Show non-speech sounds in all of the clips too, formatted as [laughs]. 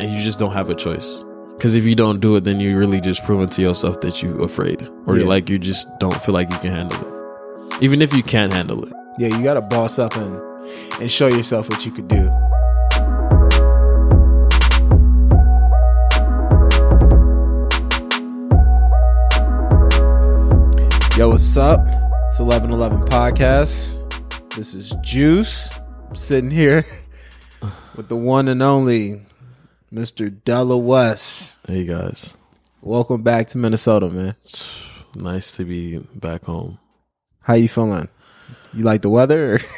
and you just don't have a choice. Because if you don't do it, then you're really just proving to yourself that you're afraid, or Yeah. like you just don't feel like you can handle it, even if you can handle it. Yeah, you gotta boss up and and show yourself what you could do. Yo, what's up? It's eleven eleven podcast. This is Juice. I'm sitting here with the one and only Mr. Della West. Hey guys, Welcome back to Minnesota, man. nice to be back home. How you feeling? You like the weather? [laughs]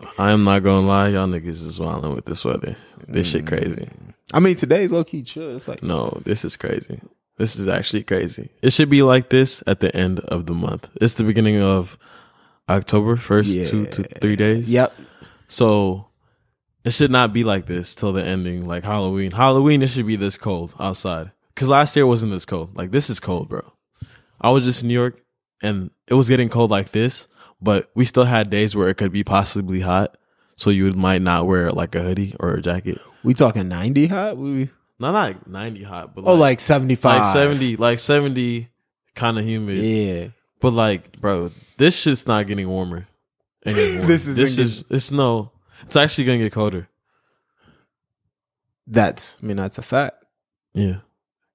Or? I am not gonna lie, y'all niggas is wilding with this weather. This shit crazy. I mean, today's low key chill. It's like No, this is crazy. This is actually crazy. It should be like this at the end of the month. It's the beginning of October, first two to three days. Yep. So it should not be like this till the ending, like Halloween. Halloween, it should be this cold outside. Cause last year it wasn't this cold. Like this is cold, bro. I was just in New York and it was getting cold like this, but we still had days where it could be possibly hot. So you might not wear like a hoodie or a jacket. We talking 90 hot? We, Not like 90 hot, but oh, like 75. like 70 like 70 kind of humid Yeah. but like bro this shit's not getting [laughs] warmer anymore This this isn't is this is it's no it's actually gonna get colder That's, I mean, that's a fact. yeah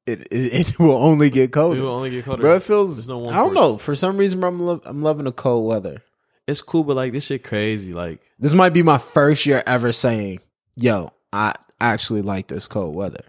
It, it, [laughs] it will only get it will colder. only get colder Bro, it There's feels, no warm I don't force. know. For some reason, bro, I'm, lo- I'm loving the cold weather. it's cool but like this shit crazy like This might be my first year ever saying, yo, I actually like this cold weather.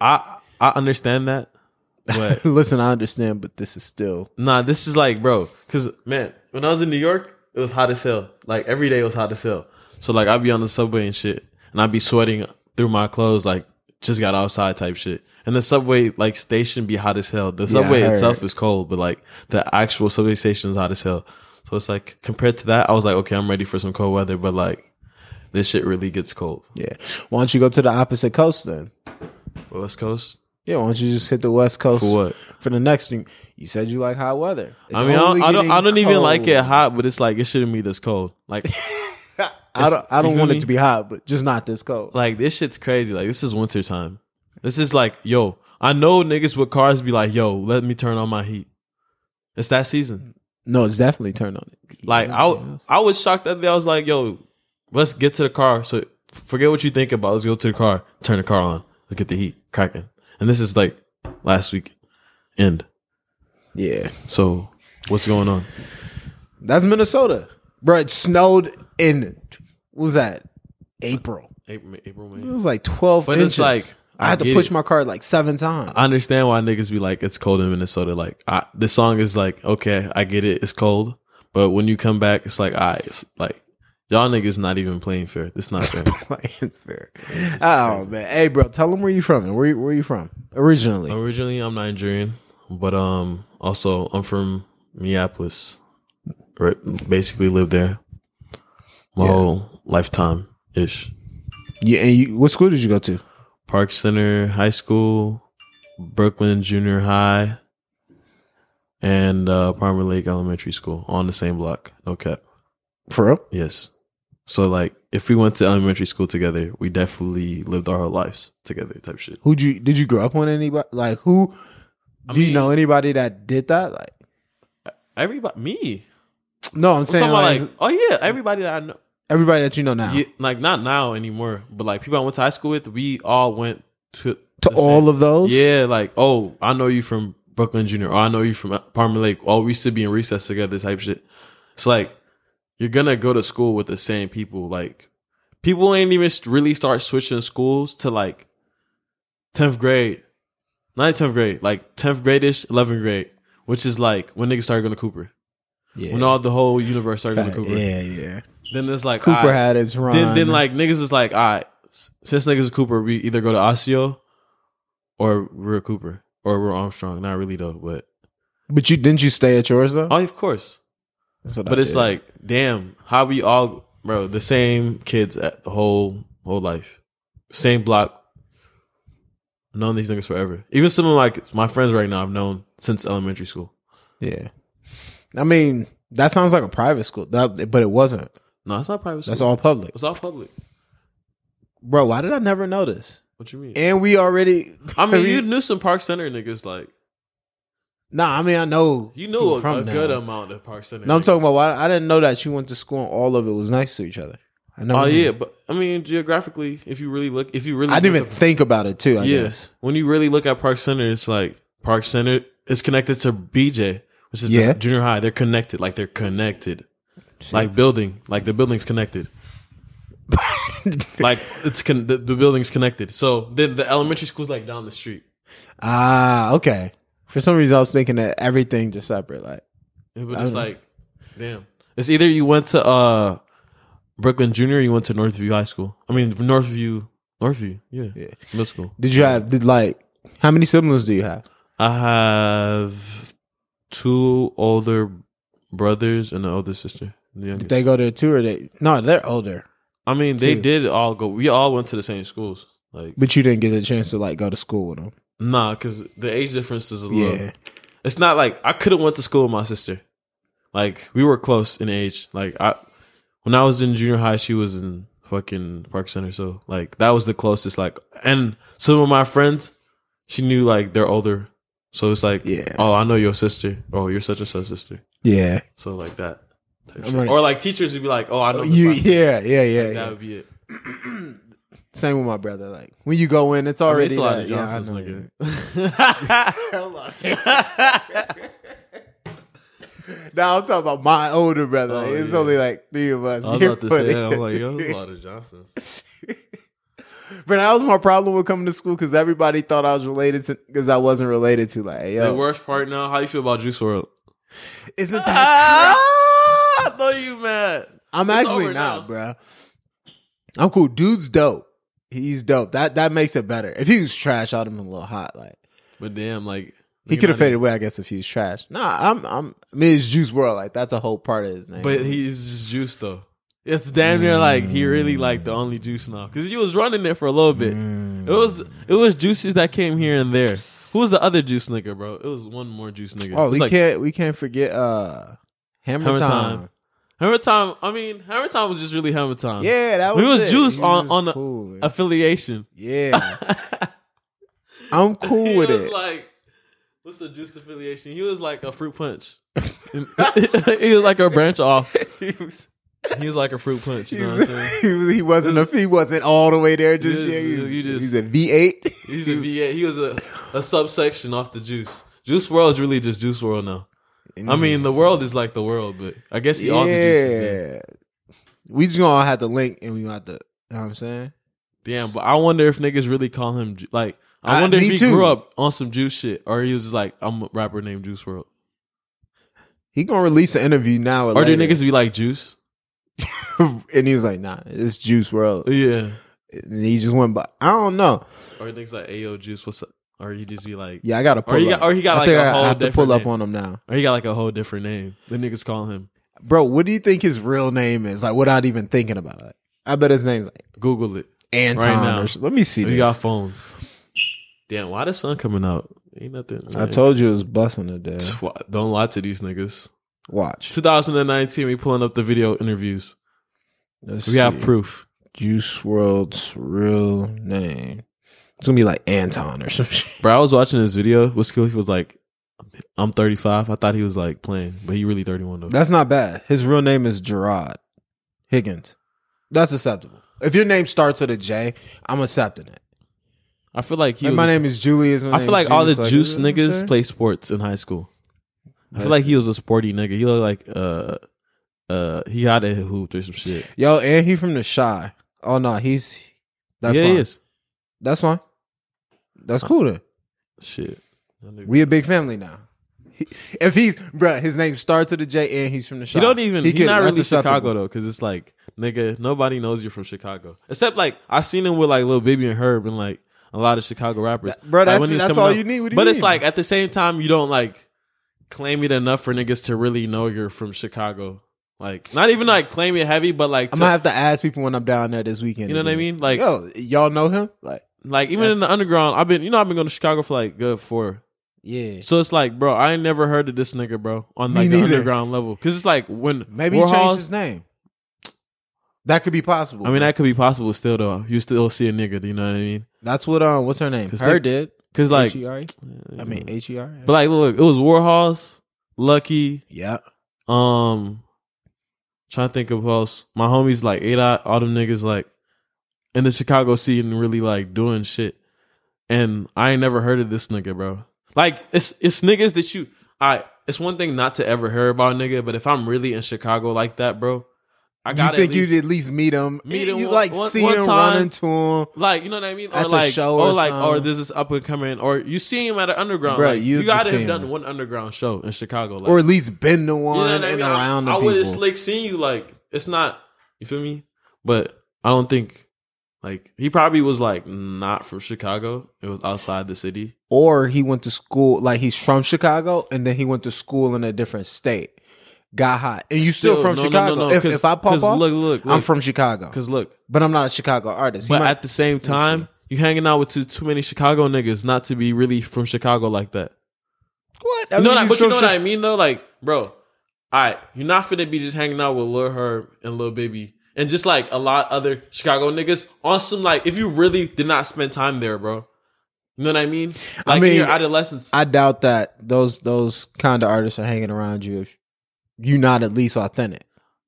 i i understand that [laughs] but [laughs] Listen, I understand, but this is still, nah this is like bro because man when i was in new york it was hot as hell like every day was hot as hell so like i'd be on the subway and shit and i'd be sweating through my clothes like just got outside type shit. And the subway like station be hot as hell. The Yeah, I subway heard. itself is cold, but like the actual subway station is hot as hell. So it's like compared to that, I was like, okay, I'm ready for some cold weather, but like this shit really gets cold. yeah. Why don't you go to the opposite coast then? West Coast Yeah, why don't you just hit the West Coast for what? for the next thing? You said you like hot weather. It's I mean, I don't, only I don't, I getting don't even like it cold. hot, but it's like it shouldn't be this cold. [laughs] Like, I don't, I You don't feel want it me? to be hot, but just not this cold. like this shit's crazy. Like this is winter time. This is like, yo, I know niggas with cars be like, yo, let me turn on my heat. It's that season. No, it's definitely turned on it. Like Yeah, I, yeah. w- I was shocked that day. I was like, "Yo, let's get to the car." So forget what you think about. Let's go to the car. Turn the car on. Let's get the heat cracking. And this is like last week end. yeah, So what's going on? that's Minnesota, bro. It snowed in what was that April? April, April It May. was like twelve But inches. it's like, I, had I to get push it. my car like seven times. [laughs] I understand why niggas be like, "It's cold in Minnesota." Like I, this song is like, "Okay, I get it. It's cold." But when you come back, it's like, "I it's like y'all niggas not even playing fair. It's not fair." playing fair. Oh man, hey bro, tell them where you from and where you- where you from [laughs] originally. Originally, I'm Nigerian, but um, also I'm from Minneapolis. Right, basically lived there my Yeah. whole lifetime ish. Yeah, and you, what school did you go to? Park Center High School, Brooklyn Junior High, and uh, Palmer Lake Elementary School on the same block. No cap. For real? Yes. So like, if we went to elementary school together, we definitely lived our whole lives together. Type shit. Who'd you did you grow up with anybody? Like who? I do you mean- know anybody that did that? Like Everybody, me. no, I'm I'm saying talking about like, like, oh yeah, everybody that I know. everybody that you know now. Yeah, like not now anymore, but like people I went to high school with, we all went to to all of those. Yeah, like oh, I know you from Brooklyn Junior, or I know you from Palmer Lake. Oh, we used to be in recess together, type shit. It's like you're gonna go to school with the same people. Like people ain't even st- really start switching schools to like tenth grade, not tenth grade, like tenth grade ish, eleventh grade, which is like when niggas started going to Cooper, yeah. when all the whole universe started going Fact, to Cooper. yeah, yeah. Then it's like Cooper alright, had his run. then, then like niggas is like, all right, s- since niggas is Cooper, we either go to Osseo or we're Cooper or we're Armstrong. Not really though, but but you didn't you stay at yours though? oh, of course. That's what But I it's did. like, damn, how we all, bro, the same kids at the whole whole life, same block. Known these niggas forever. Even some of like my friends right now, I've known since elementary school. yeah. I mean, that sounds like a private school, that, but it wasn't. No, it's not private. School. That's all public, It's all public. bro. Why did I never know this? What you mean? And we already. [laughs] I mean, [laughs] we- you knew some Park Center niggas. Like Nah, I mean, I know. you know you a, from a there. good amount of Park Center. No, I'm niggas. talking about. Why, I didn't know that you went to school and all of it was nice to each other. I know. Oh yeah, but I mean geographically, if you really look, if you really, I didn't look even think about it too. I Yeah. guess. [laughs] when you really look at Park Center, it's like Park Center is connected to BJ, which is the Yeah. junior high. They're connected, like they're connected, like building, like the building's connected, like it's con- the, the building's connected. So then the elementary school's like down the street. ah, okay. For some reason, I was thinking that everything just separate. Like, It was just don't know. like, damn. It's either you went to uh Brooklyn Junior, or you went to Northview High School. I mean Northview, Northview, yeah, Yeah. middle school. did you have? Did like? How many siblings do you have? I have two older brothers and an older sister. The youngest. Did they go to two or they? No, they're older. I mean, they Two. did all go. We all went to the same schools. Like, But you didn't get a chance to like go to school with them. nah, because the age difference is a little. Yeah. It's not like I could have went to school with my sister. Like we were close in age. Like I, when I was in junior high, she was in fucking Park Center. So like that was the closest. Like, and some of my friends, she knew like they're older. So it's like, Yeah. oh, I know your sister. Oh, you're such and such sister. Yeah. So like that. type I'm shit. right. Or like teachers would be like, oh, I know. this You. black- [laughs] Yeah. Yeah. Yeah. That yeah. would be it. Same with my brother. Like when you go in, it's I mean, it's already a lot of like, yeah, I Johnsons, know. [laughs] [laughs] nigga. [laughs] No, I'm talking about my older brother. Oh, it's yeah. only like three of [laughs] us. I was You're about to say funny. that. I'm like, yo, there's a lot of [laughs] Johnsons. but that was my problem with coming to school because everybody thought I was related to because I wasn't related to. Like, The yo, worst part now, how you feel about Juice [laughs] World? [laughs] isn't that? I know you mad. I'm It's actually over not, now. bruh. I'm cool. Dude's dope. He's dope. That that makes it better. If he was trash, I'd have been a little hot. Like But damn, like he nigga could have not faded away, I guess, if he was trash. Nah, I'm I'm. I mean, it's Juice World. Like that's a whole part of his name. even- But he's just Juice though. It's damn near like he really like the only Juice now because you was running it for a little bit. Mm. It was it was Juices that came here and there. Who was the other Juice nigga, bro? It was one more Juice nigga. oh, It was we like, can't we can't forget uh Hammer, Hammer time. Time. Hammer Time. I mean, Hammer Time was just really Hammer Time. Yeah, that We was was it. Juice He on- was on a- cool. affiliation. yeah. [laughs] I'm cool he with was it. like, what's the juice affiliation? He was like a fruit punch. [laughs] he was like [laughs] a branch off. he, [laughs] was, He was like a fruit punch. You know what I'm [laughs] saying? he, was, he wasn't a, he wasn't all the way there just Yes, yet. He was, you just- he's a V8. He's a VA. He was a, a subsection off the juice. Juice World is really just Juice World now. I mean, the world is like the world, but I guess he all the juices there. yeah. We just gonna have to link and we gonna have to. You know what I'm saying? Damn, but I wonder if niggas really call him Ju- like. I I- wonder if me he too. grew up on some juice shit, or he was just like, "I'm a rapper named Juice World," He gonna release an interview now. Or or do later, niggas be like Juice? [laughs] and he's like, nah, it's Juice World. Yeah, And he just went by. I don't know. or niggas like, "Ayo, Juice, what's up?" Or he just be like, Yeah, I gotta pull Or he up. got- or he got, I like, think a I whole have to pull different up name. on him now, Or he got like a whole different name. The niggas call him. bro. What do you think his real name is? Like, without even thinking about it, I bet his name's like Google it. Anton. Right now. or sh- let me see. We this. got phones. Damn, why the sun coming out? Ain't nothing. I told you it was busting today. Tw- Don't lie to these niggas. Watch. 2019, we pulling up the video interviews. We have proof. Juice World's real name. It's gonna be like Anton or some [laughs] shit. Bro, I was watching this video. What skill was like, I'm 35. I thought he was like playing, but he really 31 though. That's not bad. His real name is Gerard Higgins. That's acceptable. If your name starts with a J, I'm accepting it. I feel like he. Like, was my a- name is Julius. I feel like all the juice niggas play sports in high school. I feel like he was a sporty nigga. He looked like uh uh he had a hoop or some shit. Yo, and he from the shy. Oh no, he's that's yeah, fine. he is. That's fine. That's cool then. Shit. That nigga- We a big family now. He, if he's bruh, his name starts with a J and he's from the He shop. don't even. He could- not that's really acceptable. Chicago though, because it's like nigga, nobody knows you're from Chicago except like I seen him with like Lil Baby and Herb and like a lot of Chicago rappers. That- bro, Like, that's- when he was that's coming all you need. What do you but it's mean? like at the same time, you don't like claim it enough for niggas to really know you're from Chicago. Like not even like claim it heavy, but like I'm to- gonna have to ask people when I'm down there this weekend. you know what I again. mean? Like Yo, y'all know him? Like, like even in the that's- underground, I've been you know I've been going to Chicago for like good four. yeah. So it's like, bro, I ain't never heard of this nigga, bro, on Me like the neither. underground level. Cause it's like when Maybe he Warhol's- changed his name. That could be possible. I mean, that could be possible still, though. You still see a nigga. You know what I mean? that's what um, what's her name? 'Cause Her they- did. Because like, H-E-R-E? I mean H E R. but like, look, it was Warhol's, Lucky, yeah, um, trying to think of who else. My homies like eight out all them niggas like in the Chicago scene really like doing shit. And I ain't never heard of this nigga, bro. Like it's it's niggas that you I it's one thing not to ever hear about nigga, but if I'm really in Chicago like that, bro, I you gotta think at least, you at least meet him? Meet you him one- like one- see one him time. running to him, like you know what I mean? at Or the like show or, or like or something. this is up and coming or you see him at an underground. Bro, like, you, you have to gotta see have him. done one underground show in Chicago. Like, or at least been the one You know what and I mean? I- around I, the would have people. like seen you like it's not you feel me, but I don't think like he probably was like not from Chicago. It was outside the city. or he went to school like he's from Chicago and then he went to school in a different state. Got hot, and you still, from no, no, Chicago. no, no, if, 'cause- if I 'cause pop off, look, look, I'm from Chicago, because look. but I'm not a Chicago artist. He But might- at the same time, you hanging out with too too many Chicago niggas not to be really from Chicago like that. what? I You mean, know, what I- he's but you from know what Chi- I mean though. Like, bro, all right, you're not finna be just hanging out with Lil Herb and Lil Baby and just like a lot other Chicago niggas on some like if you really did not spend time there, bro. You know what I mean? Like I in mean, your adolescence, I doubt that those those kind of artists are hanging around you if you're not at least authentic.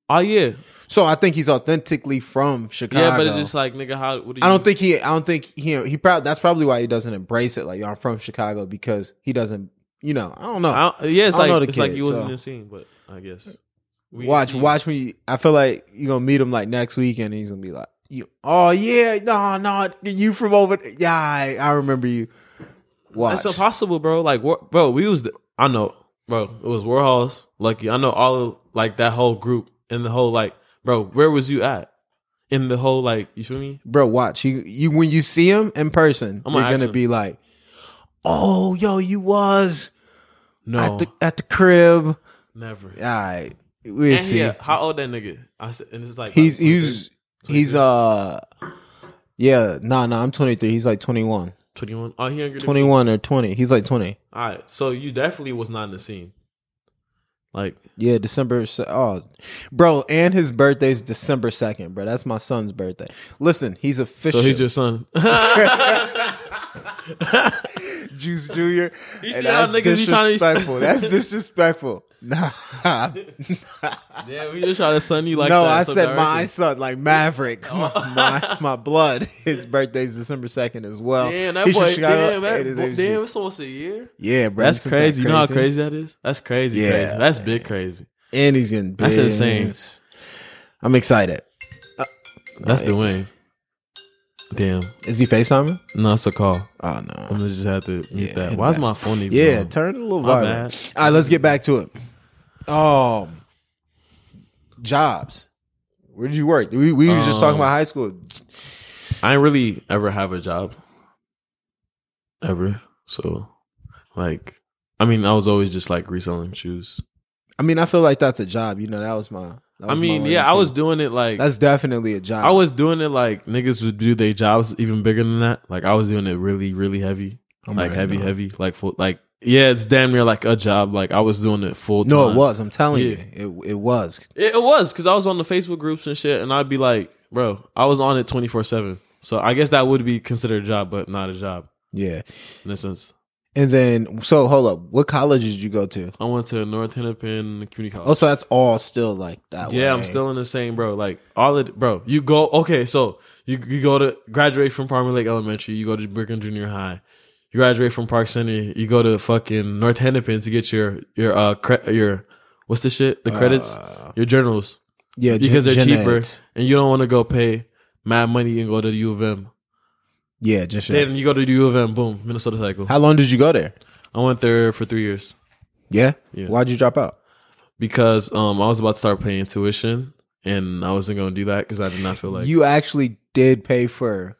oh yeah, So I think he's authentically from Chicago. yeah. But it's just like nigga, how? What do you I don't think he. I don't think he. He probably. That's probably why he doesn't embrace it. Like, yo, I'm from Chicago because he doesn't. You know, I don't know. I don't- yeah, it's I don't know like the it's like kid, you wasn't so. in the scene, but I guess we watch, see. watch when you. I feel like you're gonna meet him like next weekend. and He's gonna be like, you. Oh yeah, no, no, you from over? Yeah, I, I remember you. Watch. That's impossible, bro. Like, War- bro, we was the- I know, bro. It was Warhol's Lucky. I know all of, like that whole group and the whole like, bro. Where was you at? In the whole like, you feel me? bro watch you you when you see him in person I'm you're gonna ask gonna him. be like oh yo you was No, at the at the crib all never. right we'll And see he, uh, how old that nigga? I said, and it's like he's like, he's 23, he's uh yeah nah nah i'm 23 he's like 21 21. Oh, he younger. Than me. 21 or 20 he's like 20 All right, so you definitely was not in the scene. Like, yeah december se- oh bro and his birthday's december 2nd bro that's my son's birthday listen he's official so he's your [laughs] son. [laughs] Juice Junior. You and see how that's niggas be tryna- disrespectful. [laughs] that's disrespectful. Nah, yeah, we just try to son you like no, that I so said my directly. son, like [laughs] Maverick, [laughs] my, my my blood. His birthday's December second as well. Damn, that He's from boy. Chicago. Damn, that, It is- boy- it is damn, just- it's almost a year. yeah, bro. That's isn't crazy. that You know how crazy that is? That's crazy. Yeah, crazy. That's big crazy. And he's getting big. That's insane. I'm excited. That's the win. Damn. Is he FaceTiming? No, it's a call. Oh I'm no. gonna just have to mute Yeah, that. hit Why is back. my phone even Yeah, on? turn it a little My viral. bad. All right, let's get back to it. Um, jobs. Where did you work? We we was just talking Um, about high school. I ain't really ever have a job. Ever. So like I mean, I was always just like reselling shoes. I mean, I feel like that's a job. You know, that was my. That was I my mean, lane, yeah, I too. was doing it like That's definitely a job. I was doing it like niggas would do their jobs even bigger than that. Like I was doing it really, really heavy. I'm like right heavy, now. heavy. Like full like yeah, it's damn near like a job. Like I was doing it full time. No, it was. I'm telling Yeah. you, it it was. It, it was because I was on the Facebook groups and shit, and I'd be like, bro, I was on it twenty four seven. So I guess that would be considered a job, but not a job Yeah. in a sense. And then, so hold up, what college did you go to? I went to North Hennepin Community College. Oh, so that's all still like that. yeah, way. I'm still in the same, bro. Like all of bro, you go okay. So you you go to graduate from Parma Lake Elementary, you go to Brigham Junior High, you graduate from Park Center, you go to fucking North Hennepin to get your your uh cre- your what's the shit the credits Uh, your journals. yeah, because gen- they're gen cheaper. eds. and you don't want to go pay mad money and go to the U of M. Yeah, just Then you go to the U of M, boom, Minnesota cycle. how long did you go there? I went there for three years Yeah. Yeah. Why'd you drop out? because um I was about to start paying tuition and I wasn't gonna do that because I did not feel like you actually did pay for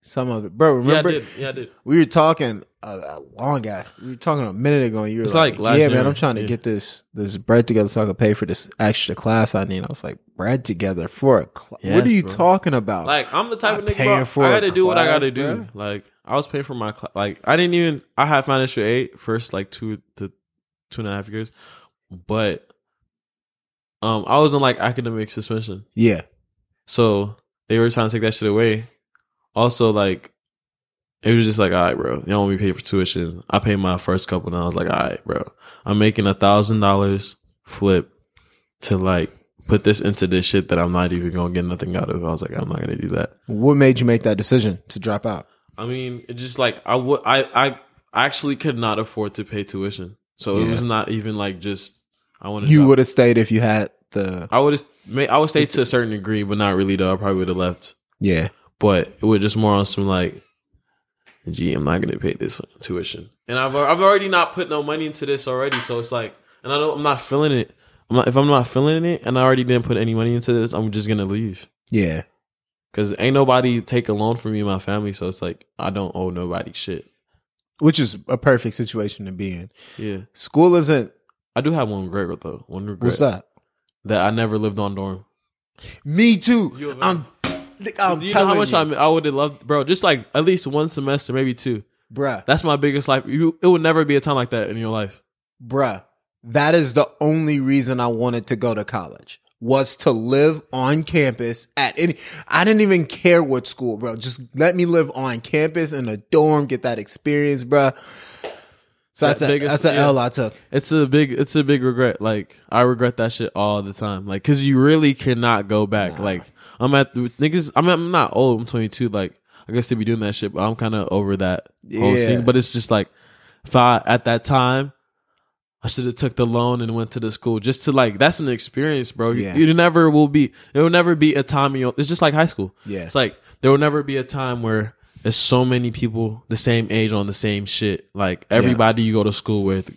some of it, bro. yeah I Remember, did yeah I did we were talking a, a long ass. We were talking a minute ago, and you were It's like, like last "Yeah, year. man, I'm trying to Yeah. get this this bread together so I can pay for this extra class I need." I was like, "Bread together for a class? what are Yes, you bro. talking about?" like I'm the type Not of nigga Oh, paying bro, for I got a to do what I got to class, do bro. like I was paying for my cl- like I didn't even I had financial aid first like two to two and a half years but um I was in like academic suspension yeah, So they were trying to take that shit away. Also, like, it was just like, all right, bro, you don't want me to pay for tuition. I paid my first couple, and I was like, all right, bro, I'm making a thousand dollars flip to like put this into this shit that I'm not even gonna get nothing out of. I was like, I'm not gonna do that. What made you make that decision to drop out? I mean, it just like I would, I, I actually could not afford to pay tuition, so it Yeah. was not even like just I wanted. You would have stayed if you had the I would have. I would stay to a certain degree, but not really though. I probably would have left, yeah. but it was just more on some like, gee, I'm not gonna pay this tuition, and I've I've already not put no money into this already, so it's like, and I don't, I'm not feeling it. I'm not, if I'm not feeling it, and I already didn't put any money into this, I'm just gonna leave. Yeah. Cause ain't nobody take a loan from me, and my family. So it's like I don't owe nobody shit. Which is a perfect situation to be in. Yeah, School isn't I do have one regret though. One regret what's up? that I never lived on dorm. Me too. You a I'm I'm do you know telling how much you, I I would have loved, bro? Just like at least one semester, maybe two. bruh, That's my biggest life. You, it will never be a time like that in your life. bruh. That is the only reason I wanted to go to college was to live on campus at any. I didn't even care what school, bro. Just let me live on campus in a dorm, get that experience, bruh. So That that's a, biggest- that's a yeah. L I took. It's a big, it's a big regret. Like I regret that shit all the time. Like, cause you really cannot go back. Like I'm at the niggas. I'm, I'm not old. I'm 22. Like I guess they be doing that shit, but I'm kind of over that whole Yeah. scene. But it's just like if I at that time. I should have took the loan and went to the school just to like that's an experience, bro. You- Yeah. You, never will be. It will never be a time. in your- It's just like high school. Yeah. It's like there will never be a time where there's so many people the same age on the same shit. Like everybody you go to school with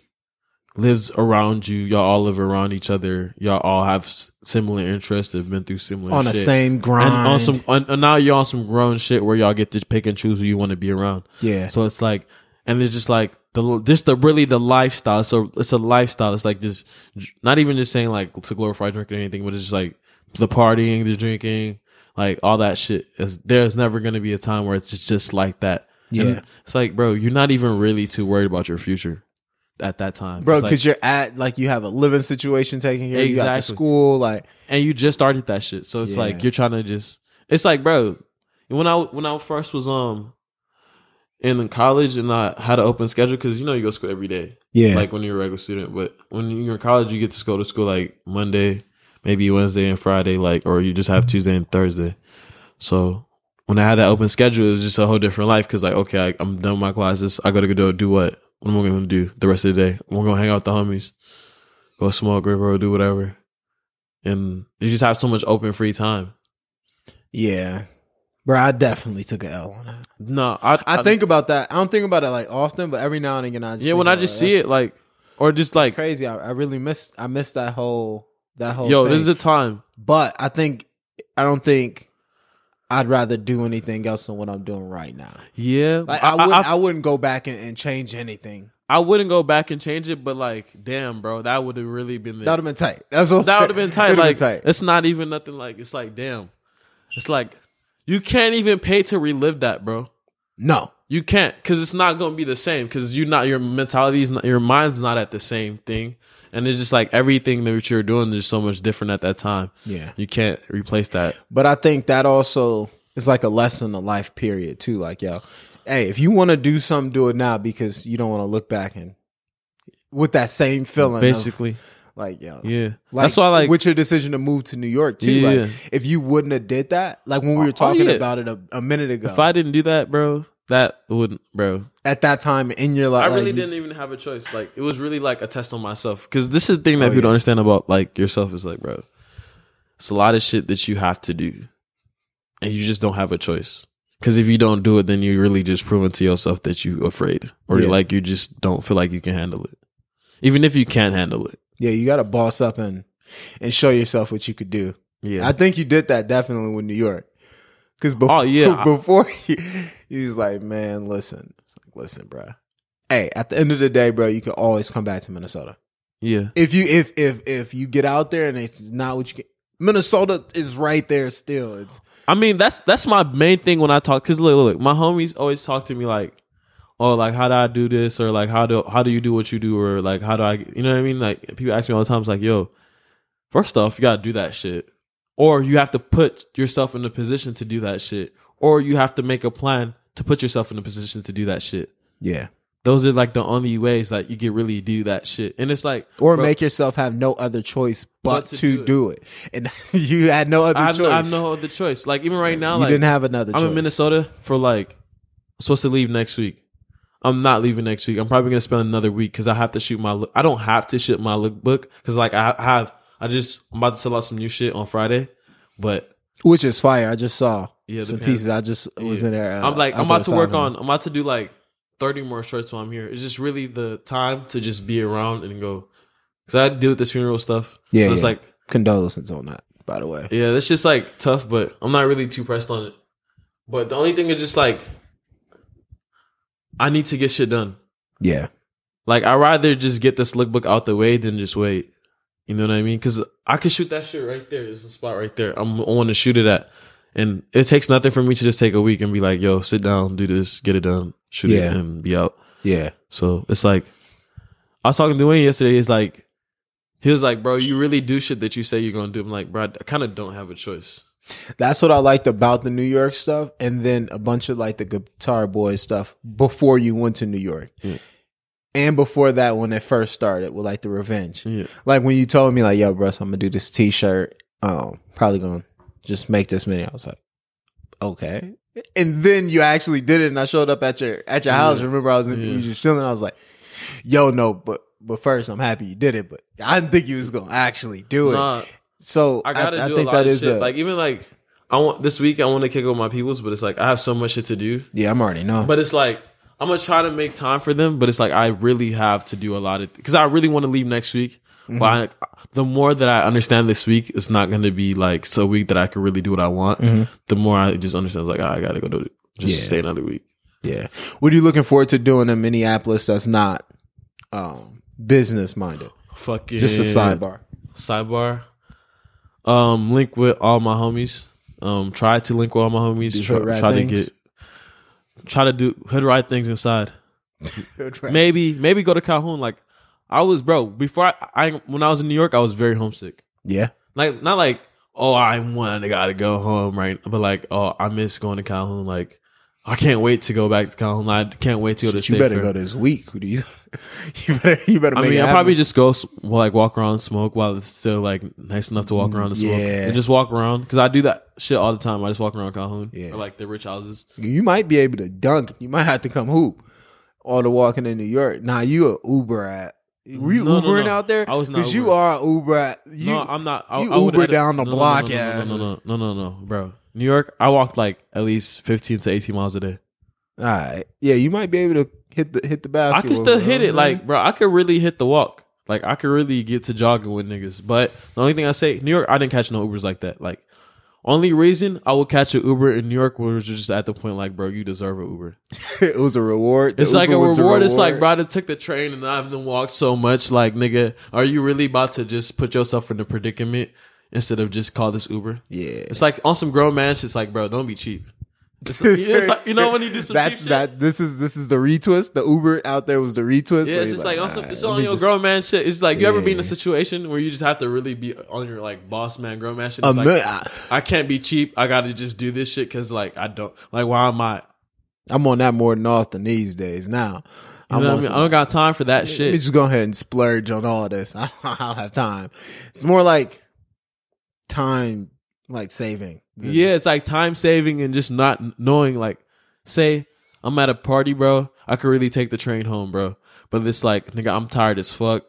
lives around you. Y'all all live around each other. Y'all all have s- similar interests. Have been through similar on the shit. same grind. and on some on, and now you're on some grown shit where y'all get to pick and choose who you want to be around. yeah, So it's like, and it's just like the just the really the lifestyle. So it's a lifestyle. It's like just not even just saying like to glorify drinking or anything, but it's just like the partying, the drinking, like all that shit. Is there's never gonna be a time where it's just, just like that. And Yeah. it's like, bro, you're not even really too worried about your future at that time, bro, It's because like- you're at like you have a living situation taking care. of You got the Exactly. school, like and you just started that shit. So it's Yeah. like you're trying to just. It's like, bro, when I when I first was um in college and I had an open schedule because you know you go to school every day. yeah, like when you're a regular student. But when you're in college, you get to go to school like Monday, maybe Wednesday and Friday, like or you just have Tuesday and Thursday. So when I had that open schedule, it was just a whole different life because like okay, I, I'm done with my classes. I gotta go do do what? What am I gonna do the rest of the day? We're gonna hang out with the homies, go smoke, go, go do whatever. And you just have so much open free time. yeah, bro. I definitely took an L on that. No, I I, think about that. I don't think about it like often, but every now and again, I just yeah. When I just see it, like, or just like, crazy. I, I really missed. I missed that whole that whole. yo, thing. this is a time. but I think I don't think I'd rather do anything else than what I'm doing right now. Yeah, Like I, wouldn't. I, wouldn't go back and, and change anything. I wouldn't go back and change it, but like, damn, bro, that would have really been the, That would have been tight. That's what I'm that saying. would have been tight. It would've Like, been tight. it's not even nothing. Like, it's like, damn, it's like you can't even pay to relive that, bro. no. You can't because it's not gonna be the same because you not your mentality's not your mind's not at the same thing, and it's just like everything that you're doing is so much different at that time. Yeah. You can't replace that. But I think that also is like a lesson of life period too. Like, yo, hey, if you want to do something, do it now because you don't want to look back and with that same feeling. Basically, Basically, like, yo, yeah. Like, That's why, like, with your decision to move to New York too. Yeah. Oh, Like, if you wouldn't have did that, like when we were talking yeah. about it a, a minute ago, if I didn't do that, bro, that wouldn't, bro. at that time in your life, I really like, didn't even have a choice. Like it was really like a test on myself because this is the thing that Oh, people yeah. don't understand about like yourself is like, bro, it's a lot of shit that you have to do, and you just don't have a choice. Because if you don't do it, then you really just proving to yourself that you afraid or Yeah. like you just don't feel like you can handle it, even if you can handle it. Yeah, you got to boss up and and show yourself what you could do. Yeah, I think you did that definitely with New York. Cause before, Oh, yeah, I- [laughs] before he, he's like, man, listen, it's like, listen, bro. Hey, at the end of the day, bro, you can always come back to Minnesota yeah, if you if if if you get out there and it's not what you can. Minnesota is right there still. It's I mean, that's that's my main thing when I talk. Cause look, look, look, my homies always talk to me like, "Oh, like how do I do this?" or like how do how do you do what you do? or like how do I, you know what I mean? Like people ask me all the time, it's like, "Yo, first off, you gotta do that shit." or you have to put yourself in a position to do that shit, or you have to make a plan to put yourself in a position to do that shit. Yeah. Those are like the only ways that you can really do that shit. And it's like, Or bro, make yourself have no other choice but, But to, to do, it. And [laughs] you had no other I have, choice. I have no other choice. Like even right now, you like didn't have another I'm choice. in Minnesota for like I'm supposed to leave next week. I'm not leaving next week. I'm probably gonna spend another week because I have to shoot my. look- I don't have to ship my lookbook because like I I have. I just I'm about to sell out some new shit on Friday, but Which is fire. I just saw Yeah, the some pants. pieces. I just was Yeah. in there. uh, I'm like I'm outdoor about to work cycling. on. I'm about to do like 30 more shirts while I'm here. It's just really the time to just be around and go because I deal with this funeral stuff. Yeah, so it's yeah. like condolences on that, by the way. Yeah, that's just like tough, but I'm not really too pressed on it. But the only thing is just like I need to get shit done. Yeah. Like I'd rather just get this lookbook out the way than just wait. You know what I mean? Cause I could shoot that shit right there. There's a spot right there. I'm I want to shoot it at. And it takes nothing for me to just take a week and be like, yo, sit down, do this, get it done, shoot Yeah. it and be out. Yeah. So it's like I was talking to Wayne yesterday, he's like he was like, bro, you really do shit that you say you're gonna do. I'm like, bro, I kinda don't have a choice. That's what I liked about the New York stuff, and then a bunch of like the Guitar Boy stuff before you went to New York, Yeah. and before that when it first started with like the Revenge. Yeah. Like when you told me like, "Yo, Russ, I'm gonna do this T-shirt. Um, probably gonna just make this many." I was like, "Okay." And then you actually did it, and I showed up at your at your house. Yeah. Remember, I was in, Yeah. you just chilling. I was like, "Yo, no, but." But first, I'm happy you did it, but I didn't think you was gonna actually do it. Nah, so I gotta do a lot of shit. like even like I want this week I want to kick with my peoples, but it's like I have so much shit to do. yeah, I'm already know. But it's like I'm gonna try to make time for them, but it's like I really have to do a lot of because I really want to leave next week. But Mm-hmm. I, the more that I understand this week, it's not gonna be like so week that I can really do what I want. The more I just understand, it's like "Ah, I gotta go do it. Just Mm-hmm. Yeah. stay another week. Yeah. What are you looking forward to doing in Minneapolis that's not um business minded? Fucking Just a sidebar. Sidebar. Um, link with all my homies. Um, try to link with all my homies. Detroit Try, Rat try to Things? get. Try to do hood ride things inside. Maybe maybe go to Calhoun. Like I was, bro. Before I, I when I was in New York, I was very homesick. Yeah. Like not like oh I want I gotta go home right, but like oh I miss going to Calhoun. Like I can't wait to go back to Calhoun. I can't wait to go to. You State better Fair. go this week. Who do You [laughs] you better you better I make mean, it I happen. probably just go s- well, like walk around, and smoke while it's still like nice enough to walk around and smoke, Yeah. and just walk around because I do that shit all the time. I just walk around Calhoun, Yeah. or like the rich houses. you might be able to dunk. You might have to come hoop. All the walking in New York. Nah, you a Uber at were you No, no, Ubering no. out there? I was not Because you Ubering. are a Uber at you no, I'm not. I, you I would Uber edit- down the no, no, no, block, no, no, ass. no, no, no, no, no, no, bro. New York, I walked like at least 15 to 18 miles a day. all right. Yeah, you might be able to hit the hit the basket. I could with still it. hit it, like bro. I could really hit the walk. Like I could really get to jogging with niggas. But the only thing I say, New York, I didn't catch no Ubers like that. Like only reason I would catch an Uber in New York was just at the point like, bro, you deserve an Uber. [laughs] it was a reward. The It's like a Uber reward. was It's like, reward. bro, I done took the train and I've been walked so much. Like, nigga, are you really about to just put yourself in a predicament instead of just call this Uber? Yeah. It's like on some grown man shit. It's like, bro, don't be cheap. It's like, it's [laughs] like- you know when you do some That's cheap shit. that. This is this is the retwist. The Uber out there was the retwist. yeah, so it's he's just like, on some, "All it's right, let on me your just- grown man shit. It's like you ever been in Yeah. a situation where you just have to really be on your like boss man, grown man shit. A It's like, mil- I- I can't be cheap. I got to just do this shit because like I don't like why am I? I'm on that more than often these days. Now, You know on what I mean? some- I don't got time for that Let me shit. just go ahead and splurge on all this. [laughs] I don't have time. It's more like time, like saving. than- Yeah, it's like time saving and just not knowing. Like, say I'm at a party, bro. I could really take the train home, bro. But it's like, nigga, I'm tired as fuck.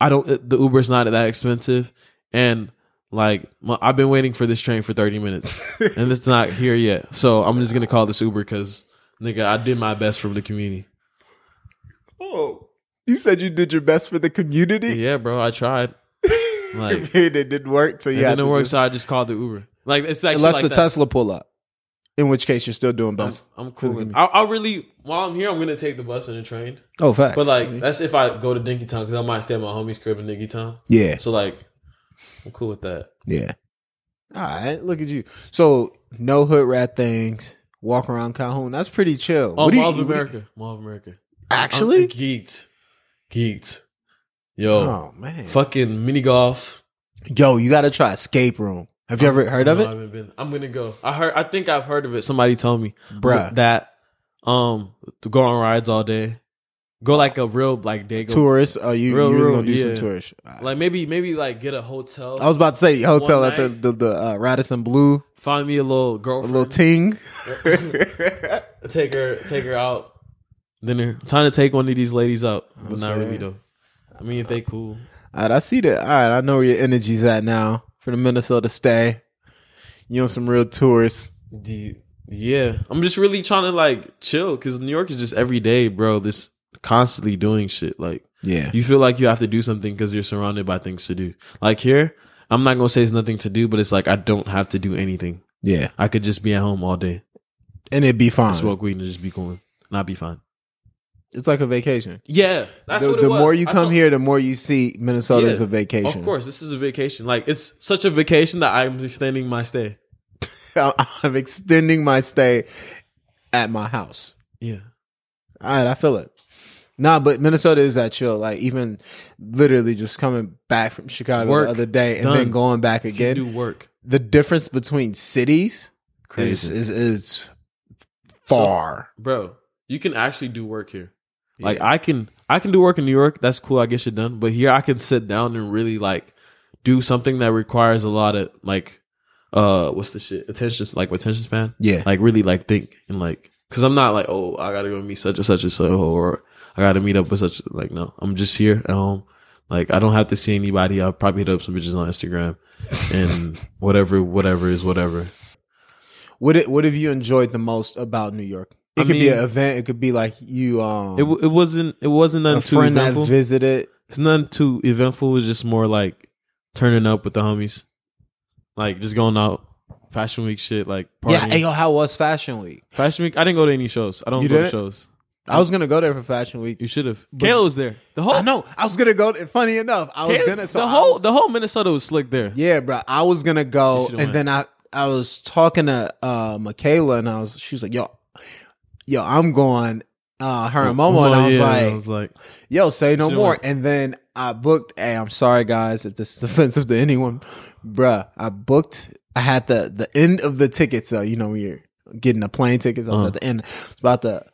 I don't. uh, The Uber's not that expensive, and like my, I've been waiting for this train for 30 [laughs] minutes, and it's not here yet. So I'm just gonna call this Uber because nigga, I did my best for the community. Oh, you said you did your best for the [laughs] community. Yeah, bro, I tried. Like, and it didn't work. So it yeah, didn't work, so I just called the Uber. Like, it's actually unless like the that. Tesla pull up, in which case you're still doing I'm, best. I'm cooling. I, I really, while I'm here, I'm gonna take the bus and the train. oh, facts. But like that's if I go to Dinky Town because I might stay at my homie's crib in Dinky Town. yeah, So like I'm cool with that. Yeah. All right, look at you. So no hood rat things. Walk around Calhoun. That's pretty chill. Oh, What do you- Mall of what do you- America, Oh, Mall of America. actually. I'm geeked, geeked. Yo, oh man. fucking mini golf. Yo, you got to try escape room. Have you ever heard of Oh, No, I it? haven't been. I'm gonna go. I heard. I think I've heard of it. Somebody told me, Bruh. that um, to go on rides all day, go like a real like day go, Tourists? Oh, you, Real, you really real, gonna do yeah. some tourists? like maybe maybe like get a hotel. I was about to say hotel at the night. the, the uh, Radisson Blue, find me a little a girlfriend, little ting. [laughs] [laughs] take her take her out dinner. I'm trying to take one of these ladies out, but not really saying. though. I mean, if they cool, All right, I see that. All right, I know where your energy's at now for the Minnesota stay. You on some real tourists? D- yeah. I'm just really trying to like chill because New York is just every day, bro. This constantly doing shit like. Yeah, You feel like you have to do something because you're surrounded by things to do. Like here, I'm not gonna say it's nothing to do, but it's like I don't have to do anything. yeah, I could just be at home all day, and it'd be fine. smoke weed, and just be cool, and I'd be fine. It's like a vacation. Yeah, that's the what it the was. more you I come told- here, the more you see Minnesota is Yeah, a vacation. of course, this is a vacation. Like it's such a vacation that I'm extending my stay. [laughs] I'm extending my stay at my house. Yeah, All right, I feel it. Nah, but Minnesota is that chill. Like even literally just coming back from Chicago Work the other day and done. then going back you again. do work. the difference between cities is Crazy. is, is far. bro you can actually do work here like i can i can do work in new york that's cool i get shit done but here i can sit down and really like do something that requires a lot of like uh what's the shit attention like attention span yeah. like really like think and like because i'm not like oh i gotta go meet such and such and so or i gotta meet up with such like no i'm just here at home like i don't have to see anybody i'll probably hit up some bitches on instagram and whatever whatever is whatever What it, what have you enjoyed the most about New York? It I could be mean- an event. It could be like you um it, w- it wasn't it wasn't nothing a too friend eventful. that visited. It's nothing too eventful. It's just more like turning up with the homies, like just going out, fashion week shit, like partying. Yeah. Hey, yo, how was Fashion Week? Fashion week. I didn't go to any shows. I don't You go to didn't? shows. I was gonna go there for Fashion Week. You should have. Kayla was there. The whole I know. I was gonna go. Funny enough, I was Kayla- gonna. So Oh. the I- whole the whole Minnesota was slick there. Yeah, bro. I was gonna go, You should've and then I I was talking to uh Michaela, and I was she was like, "Yo, yo, I'm going." Uh, her and Momo, and I was Oh, yeah, like, I was like, "Yo, say no Should've more." went. And then I booked. Hey, I'm sorry, guys, if this is [laughs] offensive to anyone, bruh. I booked. I had the the end of the ticket, so you know when you're getting the plane tickets. I was Uh-huh. at the end, about to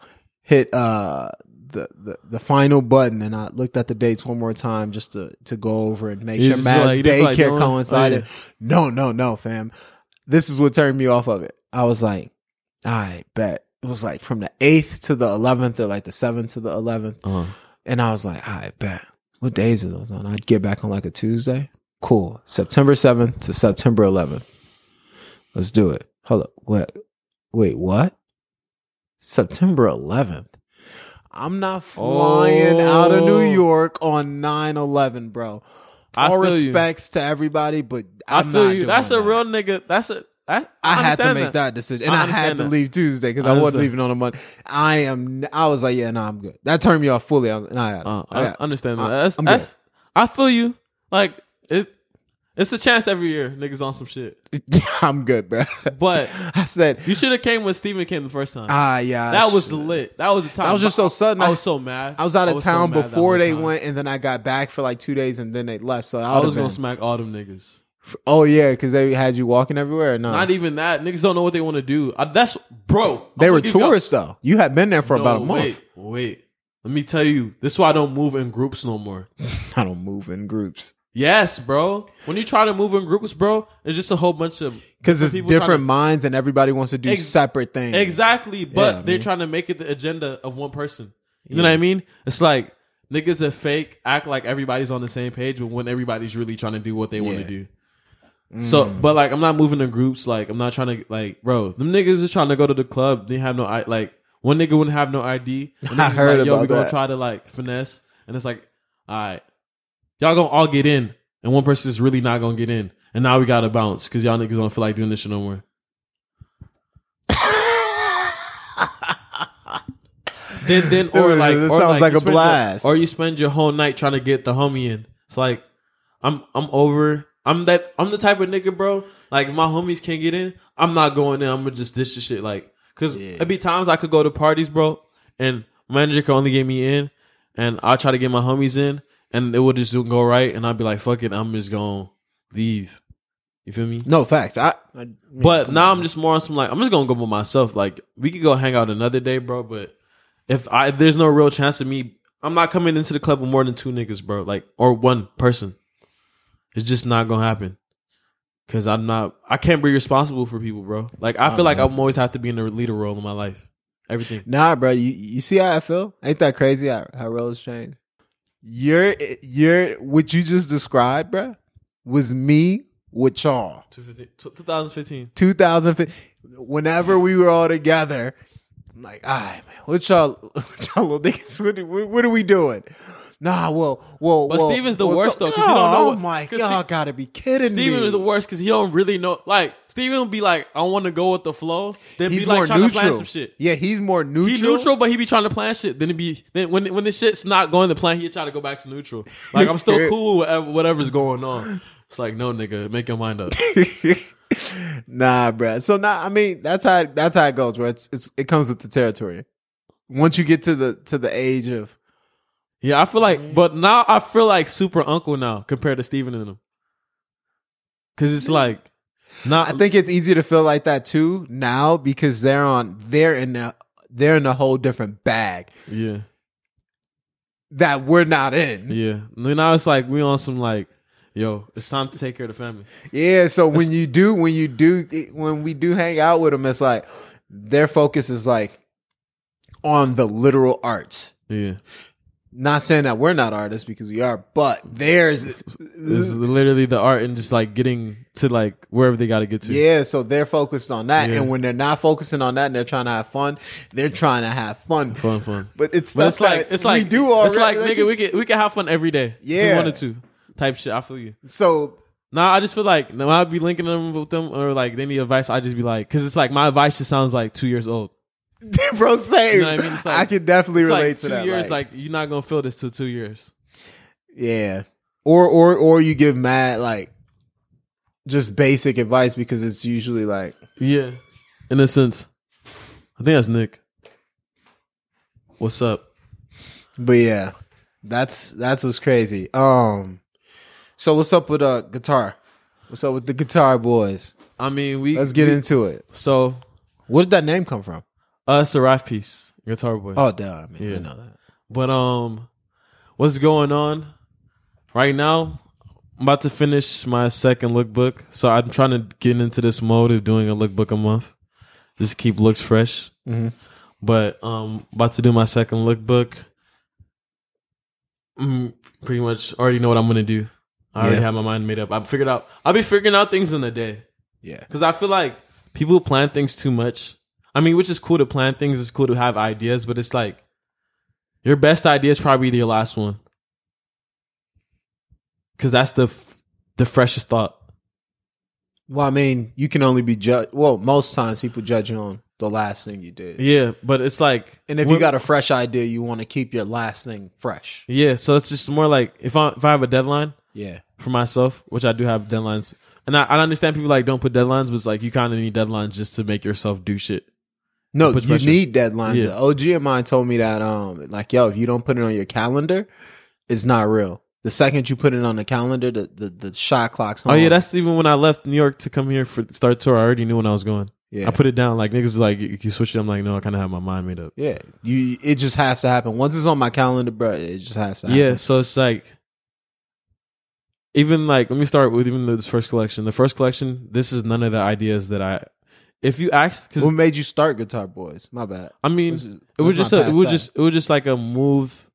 hit uh the, the the final button, and I looked at the dates one more time just to to go over and make You sure just Matt's like- you just like daycare going- coincided. No, no, no, fam. This is what turned me off of it. I was like, I bet. It was like from the 8th to the 11th or like the 7th to the 11th. uh, And I was like, I bet. What days are those on? I'd get back on like a Tuesday. Cool. September 7th to September 11th. Let's do it. Hold up. What? Wait, what? September 11th. I'm not flying out of New Oh. York on 9 11, bro. I All feel you. respects to everybody, but I I'm feel not you. doing That's a that. real nigga. That's a I, I, had to understand make that, decision, I and I, had understand to that. leave Tuesday because I I, wasn't understand. leaving on a Monday. I am. I was like, yeah, no, I'm good. That turned me off fully. I was, nah, I got it. Uh, I I got it. understand I- that. That's, I'm good. that's, I feel you. Like it. It's a chance every year, niggas on some [laughs] shit. I'm good, bro. [laughs] But I said, you should have came when Steven came the first time. ah, yeah, I That was should. lit. That was the time. That was just so sudden. I I was so mad. I was out of so town mad that before whole they time. went, and then I got back for like two days, and then they left. So I, I was gonna. gonna smack all them niggas. oh yeah, because they had you walking everywhere. No, Not e- even that. Niggas don't know what they want to do. I, that's bro. I'm they gonna were give y'all- tourists though. You had been there for No, about a month. Wait, wait. Let me tell you. This is why I don't move in groups no more. [laughs] I don't move in groups Yes, bro. When you try to move in groups, bro, it's just a whole bunch of because it's people trying different to- minds, and everybody wants to do Ex- separate things. Exactly, but I they're mean- trying to make it the agenda of one person. You know what I mean? It's like niggas that fake act like everybody's on the same page when, when everybody's really trying to do what they want to Yeah. Mm. do. So, but like, I'm not moving in groups. Like, I'm not trying to like, bro. Them niggas is trying to go to the club. They have no I like. One nigga wouldn't have no ID. and [laughs] I niggas be heard like, Yo, about we gonna that. try to like finesse, and it's like, all right, y'all gonna all get in, and one person is really not gonna get in, and now we gotta bounce because y'all niggas don't feel like doing this shit no more. then [laughs] then or Dude, like this or sounds like you a spend your- blast. or you spend your whole night trying to get the homie in. It's like I'm I'm over. I'm that I'm the type of nigga, bro. Like if my homies can't get in, I'm not going in. I'm gonna just dish the shit. Like because Yeah. it'd be times I could go to parties, bro, and manager could only get me in, and I try to get my homies in, and it would just go right, and I'd be like, fuck it, I'm just gonna leave. You feel me? [laughs] No facts. I. I mean, But come now on. I'm just more on some like I'm just gonna go by myself. Like we could go hang out another day, bro. But if I if there's no real chance of me, I'm not coming into the club with more than two niggas, bro. Like or one person. It's just not gonna happen. Cause I'm not. I can't be responsible for people, bro. Like I feel like I'm always have to be in the leader role in my life. Everything. Nah, bro. You you see how I feel? Ain't that crazy? How, how roles change. Your your what you just described, bro, was me with y'all. 2015 2015. 2015. Whenever we were all together, I'm like, all right, man, what y'all, [laughs] what y'all little niggas, what, what, what are we doing? Nah, well, well, But well, Steven's the well, worst, though, 'cause he don't know Oh what- [laughs] my 'cause god, Ste- gotta be kidding Steven me. is the worst because he don't really know. Like Steven will be like, I want to go with the flow. Then be He's like more trying to plan neutral. some shit. Yeah, he's more neutral. He neutral, but he be trying to plan shit. Then it be then when when the shit's not going to plan, he try to go back to neutral. Like I'm [laughs] still cool with whatever, whatever's going on. It's like no nigga, make your mind up. [laughs] nah, bruh. So nah, I mean that's how that's how it goes, bro. It's, it's it comes with the territory. Once you get to the to the age of Yeah, I feel like, but now I feel like super uncle now compared to Steven and him. Cause it's like, not I think it's easy to feel like that too now because they're on they're in a they're in a whole different bag yeah, that we're not in. Yeah, yeah. Now it's like we on some like, yo, it's time to take care of the family. so when you do when you do when we do hang out with them it's like their focus is like on the literal arts. Yeah, Not saying that we're not artists because we are, but theirs this is literally the art and just like getting to like wherever they got to get to. Yeah, so they're focused on that, Yeah. and when they're not focusing on that, and they're trying to have fun, they're trying to have fun. fun, fun. But it's But stuff it's like that it's like we do already. It's like nigga, we it's- could we could have fun every day. if Yeah. we wanted to. Type shit. I feel you. [laughs] So [laughs] Nah, I just feel like when I'd be linking them with them or like they need advice, I just be like, because it's like my advice just sounds like two years old. bro, same. You know what I mean? It's like- I can definitely It's relate like to two that. years, like, you're not gonna feel this till two years. yeah, or or or you give mad like just basic advice because it's usually like Yeah, in a sense, I think that's Nick. What's up? But yeah, that's that's what's crazy. Um, so what's up with uh guitar? What's up with the guitar boys? I mean, we Let's get we- into it. So, Where did that name come from? uh, it's a rap piece, guitar boy. Oh, duh, man, Yeah. I know that. But um, what's going on right now? I'm about to finish my second lookbook, so I'm trying to get into this mode of doing a lookbook a month, just to keep looks fresh. Mhm. But um, about to do my second lookbook. Mm, pretty much already know what I'm gonna do. I already Yeah. have my mind made up. I figured out. I'll be figuring out things in a day. Yeah, Because I feel like people plan things too much. I mean, which is cool to plan things, it's cool to have ideas, but it's like your best idea is probably your last one. Because that's the f- the freshest thought. Well, I mean, you can only be judged. Well, most times people judge you on the last thing you did. Yeah, but it's like, And if when- you got a fresh idea, you want to keep your last thing fresh. yeah, so it's just more like if I if I have a deadline Yeah. for myself, which I do have deadlines, and I, I understand people like don't put deadlines, but it's like you kind of need deadlines just to make yourself do shit. No, Put you pressure. need deadlines. Yeah. OG of mine told me that, um, like, yo, if you don't put it on your calendar, it's not real. The second you put it on the calendar, the the, the shot clock's Oh yeah, on. that's even when I left New York to come here for start tour. I already knew when I was going. yeah. I put it down. Like niggas was like, you, you switch it. I'm like, no, I kind of have my mind made up. yeah, you. It just has to happen. Once it's on my calendar, bro, it just has to. happen. Yeah. So it's like, even like, let me start with even this first collection. The first collection, this is none of the ideas that I. If you ask, because What made you start Guitar Boys? My bad. I mean, Let's just- it was let's just not a, it pass was that. just it was just like a move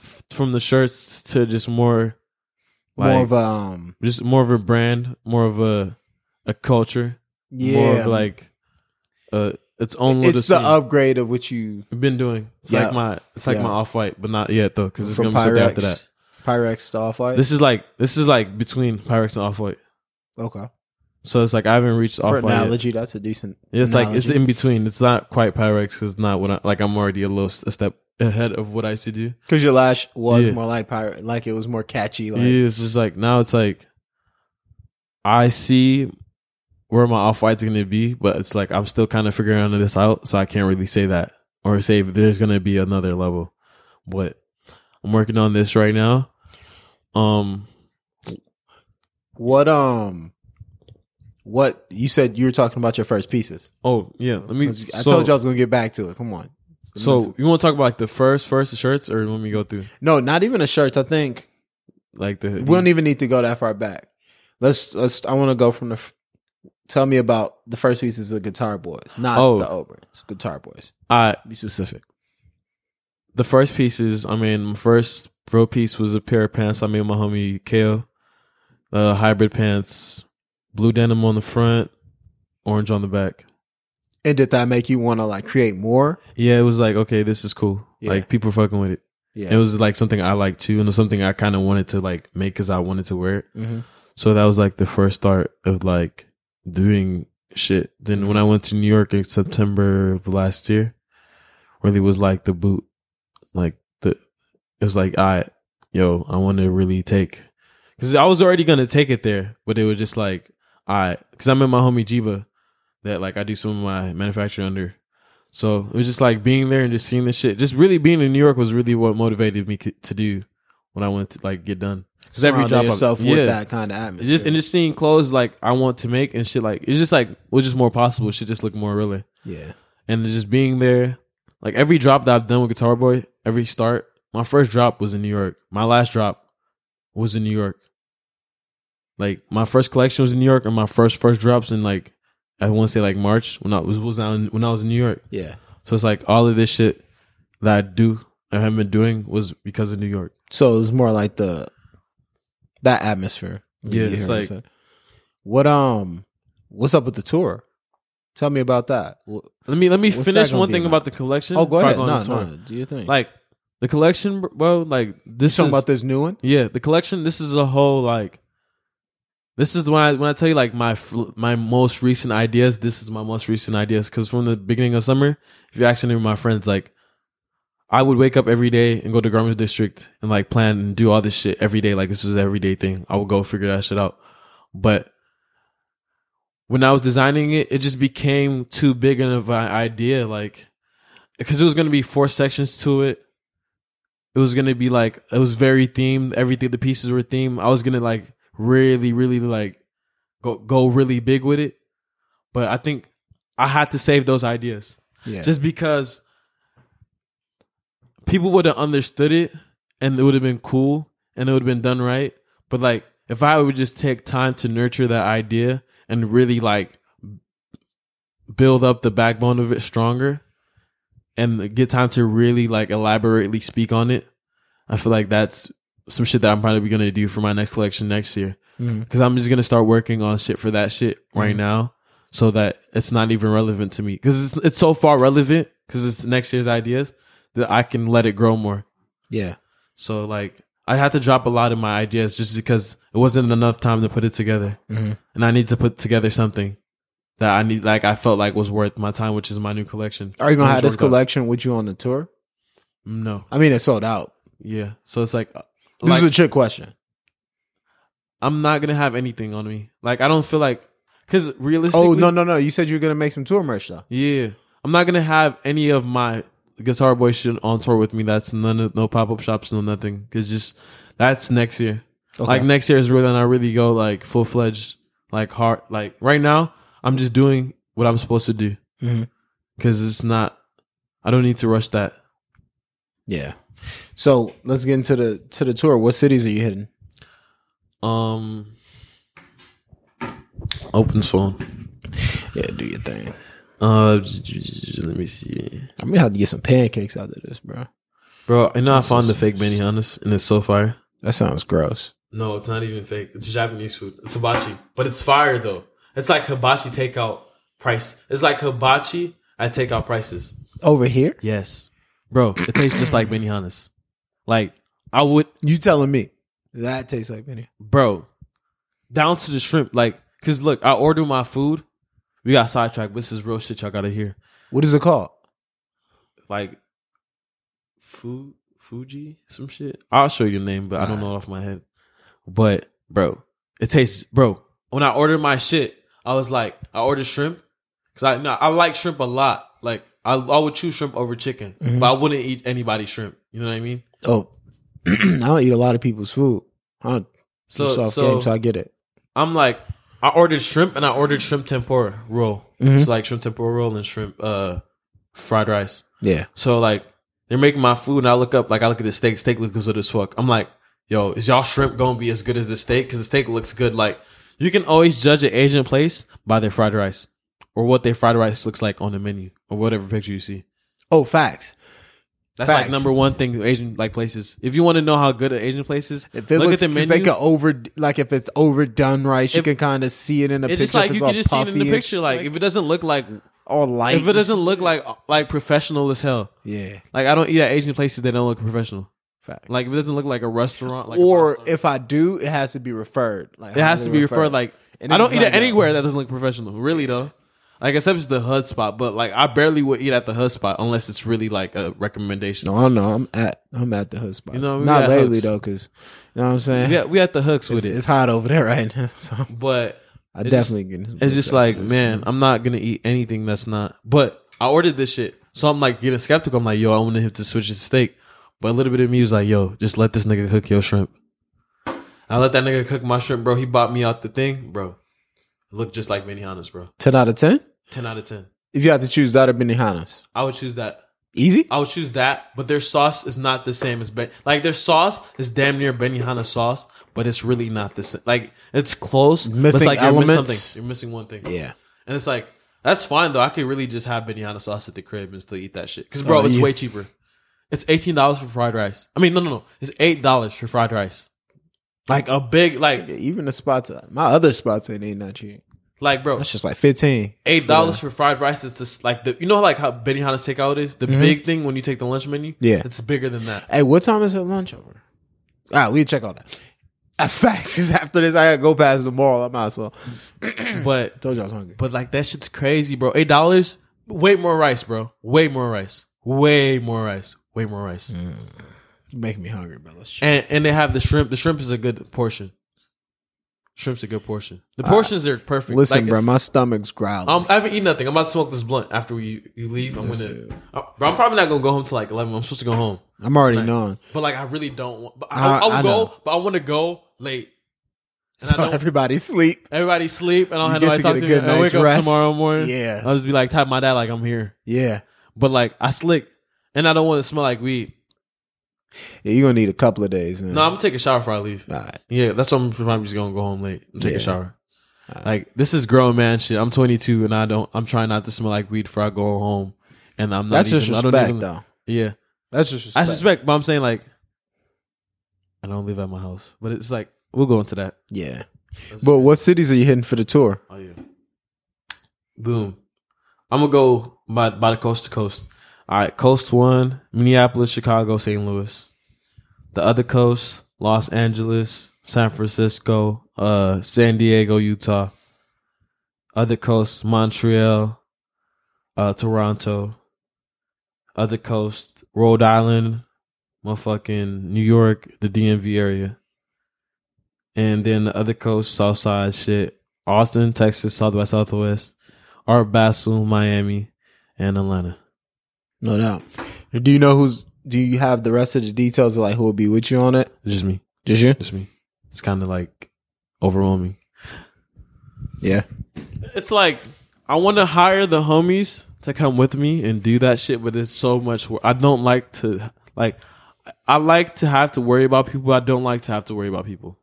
f- from the shirts to just more, like more of um just more of a brand, more of a a culture, yeah more of like, uh, its own little. it's the scene. upgrade of what you I've been doing. It's Yeah. like my it's like Yeah. my off white, but not yet though, because it's From gonna be something after that. Pyrex to off white. This is like this is like between Pyrex and off white. okay. So it's like I haven't reached For off white. yet. analogy, that's a decent. It's like it's analogy. in between. It's not quite Pyrex. 'cause It's not what I like. I'm already a little s- a step ahead of what I used to do. because your lash was Yeah. more like pirate, like it was more catchy. Like yeah, it's just like now it's like I see where my off white's gonna be, but it's like I'm still kind of figuring this out, so I can't really say that or say if there's gonna be another level. But I'm working on this right now. Um, what um, what you said you were talking about your first pieces. Oh yeah, let me. I so- told you I was gonna get back to it. Come on. It's a So mental- you want to talk about like the first first shirts, or when we go through no, not even a shirt. I think like the we don't even need to go that far back. Let's let's. I want to go from the. f- Tell me about the first pieces of Guitar Boys, not Oh. the Oberyn's. Guitar Boys. I Be specific. the first pieces. I mean, my first real piece was a pair of pants I made with my homie Kale, uh, hybrid pants, blue denim on the front, orange on the back. And did that make you want to like create more? Yeah, it was like okay, this is cool. Yeah. Like people fucking with it. Yeah. It was like something I liked too, and it was something I kind of wanted to like make because I wanted to wear it. Mhm. So that was like the first start of like doing shit. Then when I went to New York in September of last year, really was like the boot, like the it was like I, yo, I want to really take, because I was already gonna take it there, but it was just like I, because I met my homie Jiba, that like I do some of my manufacturing under. So it was just like being there and just seeing this shit. Just really being in New York was really what motivated me c- to do when I went to like get done. Because every Surrounding job I- yourself with yeah. that kind of atmosphere. It's just and just seeing clothes like I want to make and shit like it's just like was just more possible. It should just look more really. yeah. And it's just being there, like every drop that I've done with Guitar Boy, every start. My first drop was in New York. My last drop was in New York. Like my first collection was in New York, and my first first drops in like I want to say like March when I was was out in, when I was in New York. Yeah. So it's like all of this shit that I do I have been doing was because of New York. So it was more like the that atmosphere. Yeah, You it's hear what I'm like- saying? what um what's up with the tour? Tell me about that. Wh- Let me let me What's that finish gonna one be thing about? about the collection. Oh, go before I ahead. on No, the tour. no. Do you think? like the collection, bro. Like you this talking is about this new one? yeah, the collection. This is a whole like. This is when I when I tell you like my fl- my most recent ideas. This is my most recent ideas because from the beginning of summer, if you ask any of my friends, like I would wake up every day and go to Garment District and like plan and do all this shit every day. Like this was an everyday thing. I would go figure that shit out. But when I was designing it, it just became too big of an idea. Like because it was gonna be four sections to it it was gonna be like it was very themed. Everything the pieces were themed. I was gonna like really, really like go go really big with it. But I think I had to save those ideas Yeah. just because people would have understood it and it would have been cool and it would have been done right but like if i would just take time to nurture that idea and really like build up the backbone of it stronger and get time to really like elaborately speak on it i feel like that's some shit that i'm probably going to do for my next collection next year Mhm. because I'm just gonna start working on shit for that shit right Mm-hmm. now, so that it's not even relevant to me. Because it's it's so far relevant because it's next year's ideas that I can let it grow more. Yeah. So like I had to drop a lot of my ideas just because it wasn't enough time to put it together, Mhm. and I need to put together something that I need like I felt like was worth my time, which is my new collection. Are you gonna Which have this worked out. collection with you on the tour? No, I mean, it's sold out. yeah. So it's like. This like- is a trick question. I'm not gonna have anything on me. Like I don't feel like, cause realistically, Oh no no no! You said you were gonna make some tour merch though. Yeah, I'm not gonna have any of my Guitar Boy shit on tour with me. That's none of no pop up shops, no nothing. Cause just that's next year. Okay. Like next year is really when I really go like full fledged, like hard. Like right now, I'm just doing what I'm supposed to do. Mhm. Cause it's not. I don't need to rush that. Yeah. So let's get into the to the tour. What cities are you hitting? Um. Opens phone. Yeah, do your thing. Uh, [laughs] j- j- j- let me see, I'm gonna have to get some pancakes out of this, bro. bro. I know I found the fake Benihana's and it's so fire. That sounds gross. No, it's not even fake. It's Japanese food. It's hibachi, but it's fire though. It's like hibachi takeout price. It's like hibachi at takeout prices. Over here, Yes, bro. It tastes just like Benihana's. Like I would, you telling me that tastes like penny? bro, down to the shrimp. Like, cause look, I order my food. We got sidetracked. This is real shit y'all gotta hear. What is it called? Like, food Fuji, some shit. I'll show you the name, but I don't know it off my head. But bro, it tastes bro. When I ordered my shit, I was like, I ordered shrimp because I no, I like shrimp a lot. Like I, I would choose shrimp over chicken, Mhm. but I wouldn't eat anybody's shrimp. You know what I mean? Oh, [clears throat] I don't eat a lot of people's food. I'm So soft so game, so I get it. I'm like, I ordered shrimp and I ordered shrimp tempura roll. It's like shrimp tempura roll and shrimp uh fried rice. Yeah. So like they're making my food and I look up like I look at the steak. Steak looks good as fuck. I'm like, yo, is y'all shrimp gonna be as good as the steak? Because the steak looks good. Like you can always judge an Asian place by their fried rice or what their fried rice looks like on the menu or whatever picture you see. Oh, facts. That's Facts. like number one thing Asian like places. If you want to know how good an Asian place is, If it look looks, at the menu. 'cause they could over like if it's overdone rice, you If- can kind of see it in the it's picture. just like if you all can just see it in puffy the and picture. Like if it doesn't look like all light. if it doesn't look like like professional as hell. yeah, Like I don't eat at Asian places that don't look professional. fact. Like if it doesn't look like a restaurant, like a or five-star if I do, it has to be referred. Like It has to be referred like And I then don't it's eat at like a- anywhere that doesn't look professional, really though. Like except it's the HUD spot, but like I barely would eat at the HUD spot unless it's really like a recommendation. No, I don't know. I'm at I'm at the hood spot. You know, we not at lately hoods. though, because you know what I'm saying. Yeah, we at the hooks it's, with it, it's hot over there right now, [laughs] so but I It's just- definitely get. it's just like man, I'm not gonna eat anything that's not. But I ordered this shit, so I'm like getting skeptical. I'm like, yo, I want him to switch his steak, but a little bit of me was like, yo, just let this nigga cook your shrimp. I let that nigga cook my shrimp, bro. He bought me out the thing, bro. Looked just like Benihana's, bro. ten out of ten. Ten out of ten. If you have to choose that or Benihana's, I would choose that. easy. I would choose that, but their sauce is not the same as Ben. Like their sauce is damn near Benihana sauce, but it's really not the same. Like it's close. but it's Missing like you're miss elements. something. You're missing one thing. Yeah, And it's like that's fine though. I could really just have Benihana sauce at the crib and still eat that shit. Cause bro, Oh, it's yeah. way cheaper. It's eighteen dollars for fried rice. I mean, no, no, no. It's eight dollars for fried rice. Like a big, like, even the spots. My other spots ain't ain't not cheap. like, bro, That's just like fifteen. eight dollars for fried rice is just like the, you know, like how Benihana's takeout is the big thing when you take the lunch menu. Mm-hmm. Yeah. it's bigger than [clears throat] that. Hey, what time is her lunch over? Ah, we check all that. [laughs] Uh, Facts. 'cause after this, I gotta go past the mall. I might as well. But Told you I was hungry. But like that shit's crazy, bro. Eight dollars, way more rice, bro. Way more rice. Way more rice. Way more rice. Mm. You make me hungry, bro. Let's check. And and they have the shrimp. The shrimp is a good portion. Shrimp's a good portion. The portions are perfect. Uh, Listen, Like, bro, it's- my stomach's growling. um, I haven't eaten nothing. I'm about to smoke this blunt after we you leave. I'm Let's do gonna, I, bro. I'm probably not gonna go home till like eleven. I'm supposed to go home, I'm already tonight. known. but like I really don't want. But I- I, I'll Uh, I go, know. but I want to go late. And [laughs] So I don't, everybody [laughs] sleep. everybody sleep, and I don't You have nobody get to talk to to. get a good me. I night's wake up rest. tomorrow morning. Yeah. I'll just be like, type my dad like I'm here. Yeah. But like I slick and I don't want to smell like weed. yeah you're gonna need a couple of days. man. No, I'm gonna take a shower before I leave. All right. Yeah, that's why I'm probably just gonna go home late. and Take Yeah. a shower. Alright. Like this is grown man shit. I'm 22 and I don't. I'm trying not to smell like weed before I go home. And I'm not. That's even, just I don't respect, even, though. Yeah, That's just I respect. suspect, but I'm saying like I don't live at my house. But it's like we'll go into that. Yeah. But what cities are you hitting for the tour? Oh yeah. Boom. I'm gonna go by by the coast to coast. All right, coast one, Minneapolis, Chicago, St. Louis. The other coast, Los Angeles, San Francisco, uh, San Diego, Utah. Other coast, Montreal, uh, Toronto. Other coast, Rhode Island, motherfucking New York, the DMV area. And then the other coast, south side shit, Austin, Texas, South by Southwest, Art Basel, Miami, and Atlanta. No doubt. Do you know who's? Do you have the rest of the details of like who will be with you on it? It's just me. Just you? Just me. It's kind of like overwhelming. Yeah. It's like I want to hire the homies to come with me and do that shit, but it's so much work. I don't like to like. I like to have to worry about people. I don't like to have to worry about people.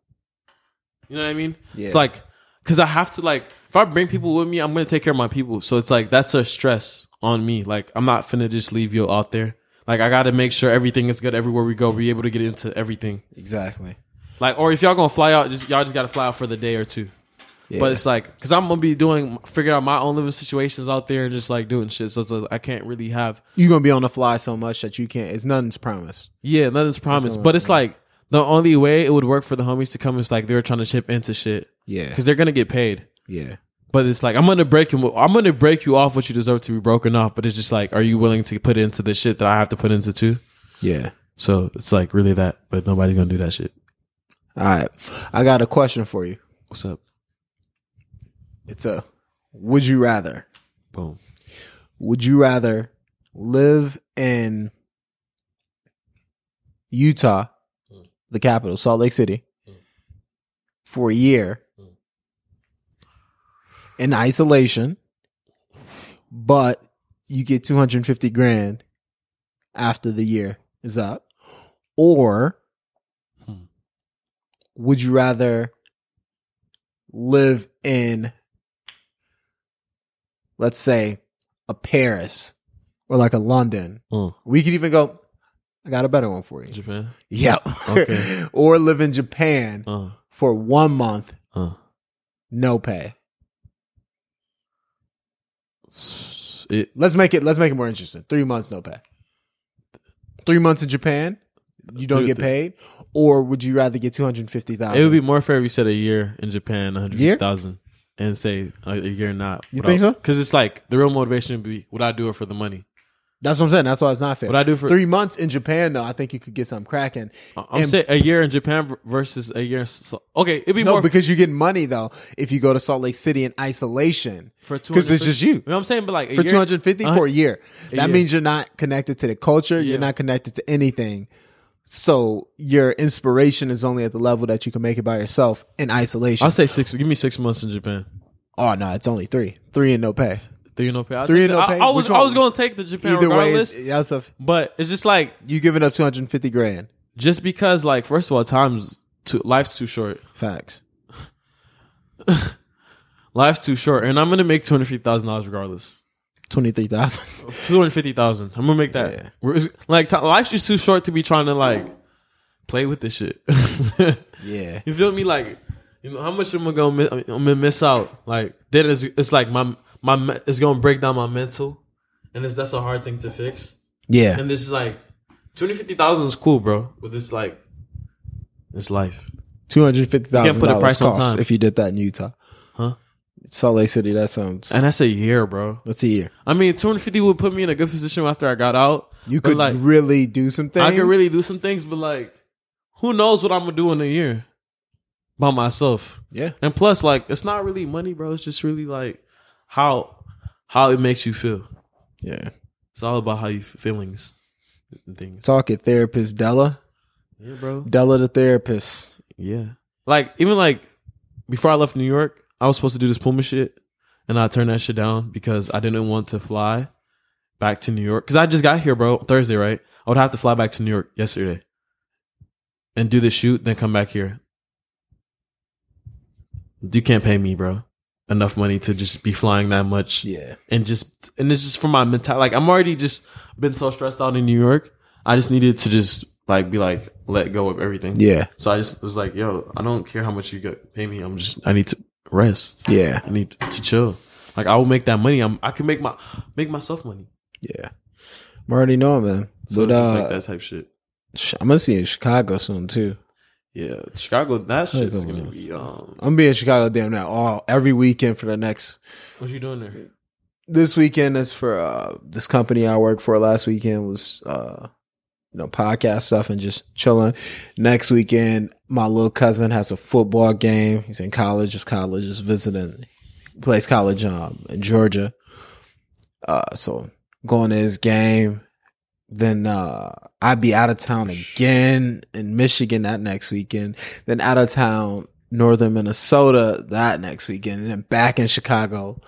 You know what I mean? Yeah. It's like because I have to like if I bring people with me, I'm gonna take care of my people. So it's like that's a stress on me. Like I'm not finna just leave you out there. Like I gotta make sure everything is good everywhere we go. Be able to get into everything. Exactly. Like or if y'all gonna fly out, just y'all just gotta fly out for the day or two. Yeah. But it's like, cause I'm gonna be doing, figuring out my own living situations out there and just like doing shit. So it's like, I can't really have, you're gonna be on the fly so much that you can't. It's nothing's promised. yeah, nothing's promised. But it's like, the only way it would work for the homies to come is like they're trying to chip into shit. Yeah, Cause they're gonna get paid. yeah, But it's like, I'm gonna break him, I'm gonna break you off what you deserve to be broken off. But it's just like, are you willing to put into the shit that I have to put into too? yeah. So it's like really that, but nobody's gonna do that shit. All right, I got a question for you. What's up? It's a would you rather? Boom. Would you rather live in Utah, the capital, Salt Lake City, for a year, in isolation, but you get 250 grand after the year is up? Or Hmm. would you rather live in, let's say, a Paris or like a London? Mm. We could even go, I got a better one for you. Japan. Yep. Okay. [laughs] or live in Japan Uh, for one month, uh. no pay. S- It Let's make it. Let's make it more interesting. Three months, no pay. Three months in Japan, you don't Dude, get the- paid, or would you rather get two hundred fifty thousand? it would be more fair if you said a year in Japan, one hundred thousand, and say a a year not. You think so? Because it's like the real motivation would be, would I do it for the money? That's what I'm saying. That's why it's not fair. Would I do for? Three months in Japan, though, I think you could get something cracking. I'm and- saying a year in Japan v- versus a year. So, okay, it'd be No, more because you get money though if you go to Salt Lake City in isolation for two because it's just you. You know what I'm saying? But like a for year- 250 Uh, for a year. a year. that means you're not connected to the culture, Yeah. you're not connected to anything. So your inspiration is only at the level that you can make it by yourself in isolation. I'll say six. Give me six months in Japan. oh no, it's only 3. 3 and no pay. Three and no pay. I'll Three take and no the- pay? I, I was Which I one? was going to take the Japan Either way, regardless, it's, yeah, it's a- but it's just like you giving up 250 grand. just because like first of all, time's too life's too short. Facts. Life's too short, and I'm gonna make two hundred fifty thousand dollars regardless. 23,000. [laughs] Two hundred fifty thousand. I'm gonna make that. Yeah. We're- Like t- life's just too short to be trying to like play with this shit. [laughs] [laughs] yeah. you feel me? Like you know how much am I gonna miss, I'm gonna miss out? Like then it's, it's like my my me- it's gonna break down my mental, and it's, that's a hard thing to fix. Yeah. And this is like two hundred fifty thousand is cool, bro. But it's like it's life. $250,000 You can't put a price on cost time. if you did that in Utah. Huh? Salt Lake City, that sounds And that's a year, bro. that's a year. I mean, 250 would put me in a good position after I got out. You But, could like, really do some things. I could really do some things, but like, who knows what I'm gonna do in a year by myself? Yeah. And plus, like, it's not really money, bro. It's just really like how how it makes you feel. Yeah. It's all about how you f- feelings and things. Talk at therapist Della. Yeah, bro. Della the therapist. Yeah. Like even like before I left New York, I was supposed to do this Puma shit, and I turned that shit down because I didn't want to fly back to New York because I just got here, bro. Thursday, right? I would have to fly back to New York yesterday and do the shoot, then come back here. You can't pay me, bro, enough money to just be flying that much Yeah. and just and it's just for my mental like I'm already just been so stressed out in New York. I just needed to just like be like let go of everything. Yeah. So I just was like, yo, I don't care how much you get pay me. I'm just I need to rest. Yeah. I need to chill. Like I will make that money. I'm I can make my make myself money. Yeah. I'm already knowing, man. So but it's uh, like that type shit. sh- I'm gonna see you in Chicago soon too. Yeah. Chicago, that Chicago, shit's gonna man. be um I'm gonna be in Chicago damn now all every weekend for the next what you doing there? this weekend is for uh this company I worked for last weekend was uh you know podcast stuff and just chilling. Next weekend, my little cousin has a football game. He's in college, his college is visiting plays college um in Georgia. Uh so going to his game. Then uh I'd be out of town again in Michigan that next weekend. Then out of town northern Minnesota that next weekend and then back in Chicago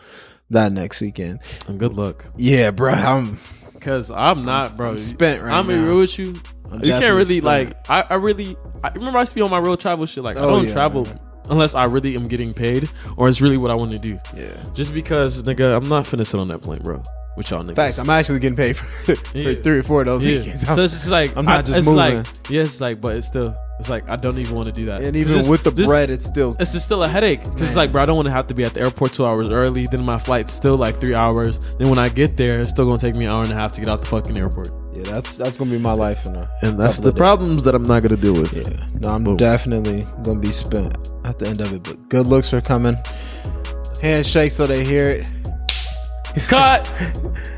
that next weekend. And good luck. Yeah, bro, I'm Cause I'm not, bro. I'm spent right I'm now. in real with you. you definitely can't really spent. like. I, I really. I remember I used to be on my real travel shit. Like I Oh, don't yeah. travel unless I really am getting paid or it's really what I want to do. yeah. Just because, nigga, I'm not finna sit on that plane, bro. With y'all niggas. Facts. I'm actually getting paid for, [laughs] for Yeah. three or four of those yeah. weekends. So it's just like I'm not I- just it's moving. Like, yeah, it's like, but it's still. It's like I don't even want to do that. [laughs] and It's even just- with the this- bread, it's still It's just still a headache. Cause it's like, bro, I don't want to have to be at the airport two hours early. Then my flight's still like three hours. Then when I get there, it's still gonna take me an hour and a half to get out the fucking airport. yeah. That's that's gonna be my life in a And that's the couple problems that I'm not gonna deal with. [laughs] of days. Yeah. No, I'm Boom. definitely gonna be spent at the end of it. But good looks for coming. Handshake so they hear it. Cut.